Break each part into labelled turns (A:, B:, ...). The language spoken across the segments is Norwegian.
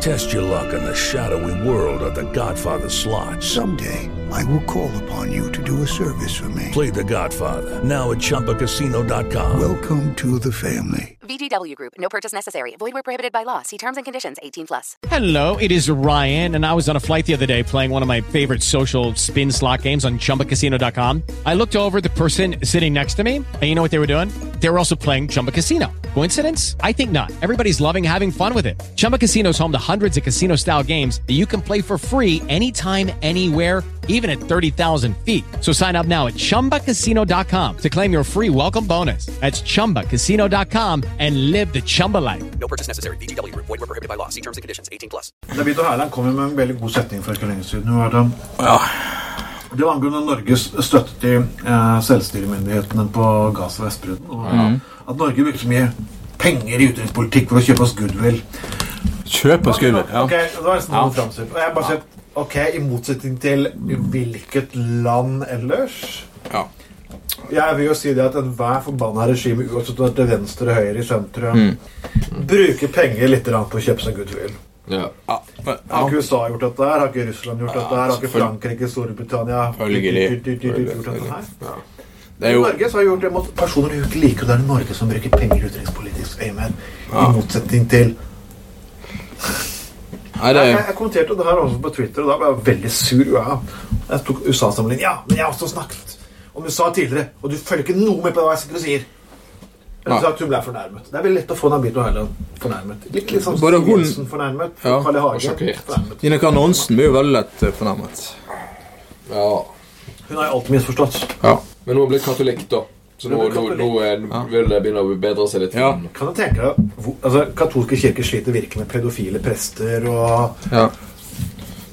A: Test your luck in the shadowy world of The Godfather slot.
B: Someday, I will call upon you to do a service for me.
A: Play The Godfather now at ChumbaCasino.com.
B: Welcome to the family.
C: VGW Group. No purchase necessary. Void where prohibited by law. See terms and conditions. 18 plus.
D: Hello, it is Ryan, and I was on a flight the other day playing one of my favorite social spin slot games on ChumbaCasino.com. I looked over the person sitting next to me, and you know what they were doing? They were also playing Chumba Casino. Coincidence? I think not. Everybody's loving having fun with it. Chumba Casino is home to hundreds of casino-style games that you can play for free anytime, anywhere even at 30,000 feet. So sign up now at ChumbaCasino.com to claim your free welcome bonus. That's ChumbaCasino.com and live the Chumba life.
E: No purchase necessary. VGW Group. Void were prohibited by law. See terms and conditions. 18 plus.
F: Davido Herland kom jo med en veldig god setning for ikke lenge siden. Hun hadde, Det var angående Norges støtte til eh, selvstyremyndighetene på Gaza og Vestbredden. Og, At Norge brukte så mye penger i utenrikspolitikk for å kjøpe oss goodwill.
G: Kjøp og skriv. Ja.
F: Ok, det var nesten noe framstilt. Og jeg bare sier, Ok, I motsetning til hvilket land ellers
G: Ja.
F: Jeg vil jo si det at enhver forbanna regime, uansett om det er til venstre, høyre, i sentrum, bruker penger litt grann på å kjøpe seg goodwill.
H: Ja.
G: Ja. Men,
F: Har ikke
G: ja.
F: USA gjort dette her? Har ikke Russland gjort dette her? Har ikke Frankrike, Storbritannia
G: Følgelig.
F: du- du- du- du- du- gjort dette her?
G: Det er jo
F: Norge så har gjort det mot personer du ikke liker. og Det er Norge som bruker penger i utenrikspolitisk øyemed. I motsetning til
G: Nei, det
F: jeg,
G: er
F: jeg kommenterte det her også på Twitter, og da ble jeg veldig sur. Ja. Jeg tok USA-sammenligning. Ja, men jeg har også snakket om USA tidligere, og du følger ikke noe med på hva jeg sitter og sier. Rett og slett, hun ble fornærmet. Det er veldig lett å få Nabito Haaland fornærmet. Litt, litt sånn
G: Både
F: Siv
G: hun-
F: Jensen fornærmet.
G: Ja,
F: Carl I. Hagen
H: og sjokkert.
F: fornærmet.
G: Gina Karnonsen blir jo veldig lett eh, fornærmet.
H: ja.
F: Hun har jo alltid misforstått.
G: Ja.
H: Men hun har blitt katolikk, da. Så nå,
F: Hun er
H: nå,
F: katolikk.
H: nå, er- nå vil det begynne å bedre seg litt.
G: Ja.
F: Kan du tenke deg hvor- altså, Katolske kirker sliter virkelig med pedofile prester og
G: Ja.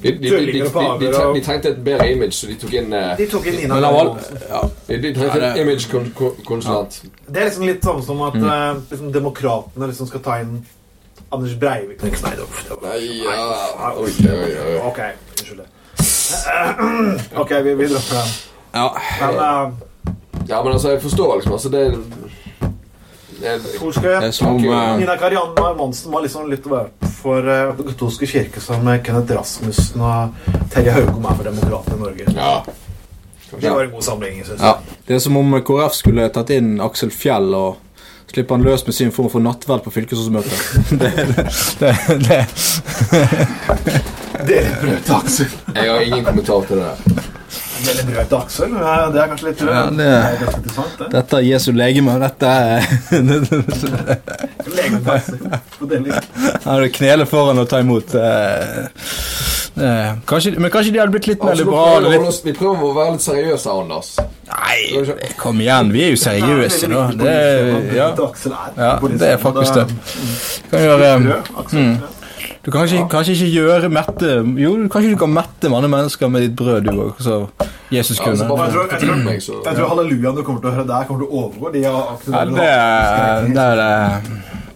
H: De, de, de, de, de, de, de trengte et bedre image, så de tok inn eh,
F: De tok inn Nina
G: Men han var
F: Karlsen.
G: ja.
H: De, de trengte
G: Ja,
H: en
G: det-
H: image-konsulent.
F: Det er liksom litt sånn som at eh, liksom, demokratene liksom skal ta inn Anders Breivik Nei, nei, det var- det var-
H: Nei, ja.
F: Nei,
H: Oi,
F: det var-
H: oi, oi.
F: Ok, unnskyld det. Eh, Ok, vi, vi dropper den.
G: ja.
F: Men eh,
H: Ja, men altså, jeg forstår liksom. Altså, det, det
F: hvor skal
G: Det
F: jeg
G: er som eh,
F: Nina Karianne Monsen var liksom litt å være for eh, den katolske kirke som eh, Kenneth Rasmussen og Terje Haugom er for demokratene i Norge.
H: Ja.
F: Det var en god sammenligning, syns jeg.
G: ja. Det er som om KrF skulle tatt inn Aksel Fjell og slippe han løs med sin form for nattverd på fylkesårsmøtet. det, det, det,
F: Dere brøt til Aksel.
H: Jeg har ingen kommentar til det der.
F: Eller brød til Aksel. ja, Det er kanskje litt trøtt.
G: Ja, det-
F: det er ganske interessant, det.
G: dette er Jesu legeme. Dette er
F: Legen til Aksel. På den listen.
G: Han hadde knele foran og ta imot. eh, eh, kanskje, men kanskje de hadde blitt litt mer
H: Altså, nå
G: liberale?
H: prøver vi å holde
G: Litt.
H: oss- vi prøver å være litt seriøse her, Anders.
G: Nei, kom igjen. Vi er jo seriøse, da. Det er, ja,
F: Brød til Aksel er
G: ja,
F: på den
G: det er
F: listen.
G: faktisk det. Mm.
F: Da-
G: Du kan gjøre,
F: Brød, Aksel. ja.
G: du kan kanskje, kanskje ikke gjøre mette Jo, kanskje du kan mette mange mennesker med ditt brød, du òg, så Jesus
H: Ja, altså,
G: kunne.
H: bare
F: Jeg tror- jeg
H: for
F: tror-
H: meg, så
F: Jeg tror hallelujaen du kommer til å høre der, kommer til å overgå de av Aksel.
G: Ja, det, er- det er det.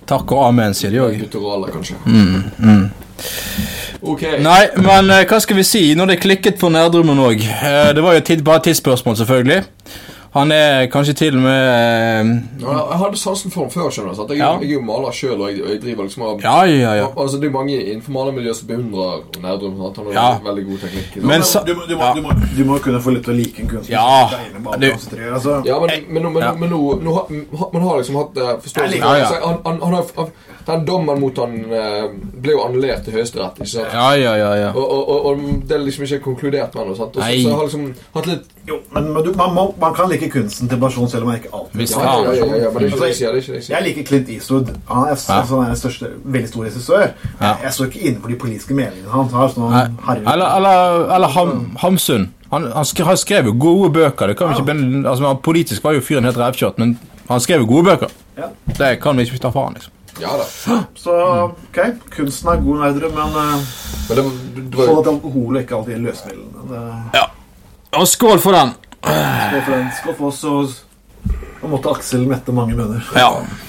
G: Takk og amen, sier de òg.
H: Gutteraler, kanskje. Ok.
G: Mm, Nei, men eh, hva skal vi si? Når det klikket for Nerdrummen òg eh, Det var jo et tid, bare et tidsspørsmål, selvfølgelig. Han er kanskje til og med eh,
H: Ja, Jeg hadde sansen for ham før. skjønner du sant? Jeg,
G: Ja.
H: jeg er jo maler sjøl, og jeg, og jeg driver liksom av
G: Ja, ja, ja.
H: Al- Altså, Det er mange innenfor malermiljøet som beundrer Nerdrum. sant? Han har
G: Ja.
H: veldig god teknikk. sant?
G: Men sa-
F: Du må, du, må, du, må, du må kunne få litt å like en kunstner.
G: Ja,
F: som tegner med alle
G: du-
F: konsentrere, altså.
H: ja, men, men, men,
G: Ja.
H: men nå, nå har, m- man har liksom hatt eh, forståelse
G: Ja, ja.
H: Altså, han, han, han har, han- Den dommen mot han eh, ble jo annullert til Høyesterett. ikke sant?
G: Ja, ja, ja. ja.
H: Og, og, og, og det er liksom ikke konkludert med noe. sant? Og så,
G: Nei.
H: så jeg har liksom hatt litt
F: Jo, men men du, man, må, man kan like kunsten til person selv om man ikke alltid
G: Visst
H: Ja, ja, ja, ja, ja, men det er ikke det jeg sier. det er ikke det Jeg
F: Mm. Altså, Jeg
H: sier
F: liker Clint Eastwood. Han er, altså, han er den største, veldig stor regissør.
G: Ja.
F: Jeg, jeg står ikke inne for de politiske meningene han tar. Sånn,
G: Nei.
F: herre-
G: Eller, eller, eller ham, Hamsun. Han, han, skrev, han skrev jo gode bøker. Det kan vi ikke begynne, altså, han- Politisk var jo fyren helt revkjørt, men han skrev jo gode bøker.
F: Ja.
G: Det kan vi ikke ta fra han, liksom.
H: Ja da.
F: Så ok, kunsten er god nerdere, men uh,
H: Men det, var- det var
F: sånn at alkohol ikke alltid er løsemiddelet. Det-
G: Og skål for den!
F: Skål for den. Skål for oss, og og måtte Aksel mette mange bønner.
G: Ja.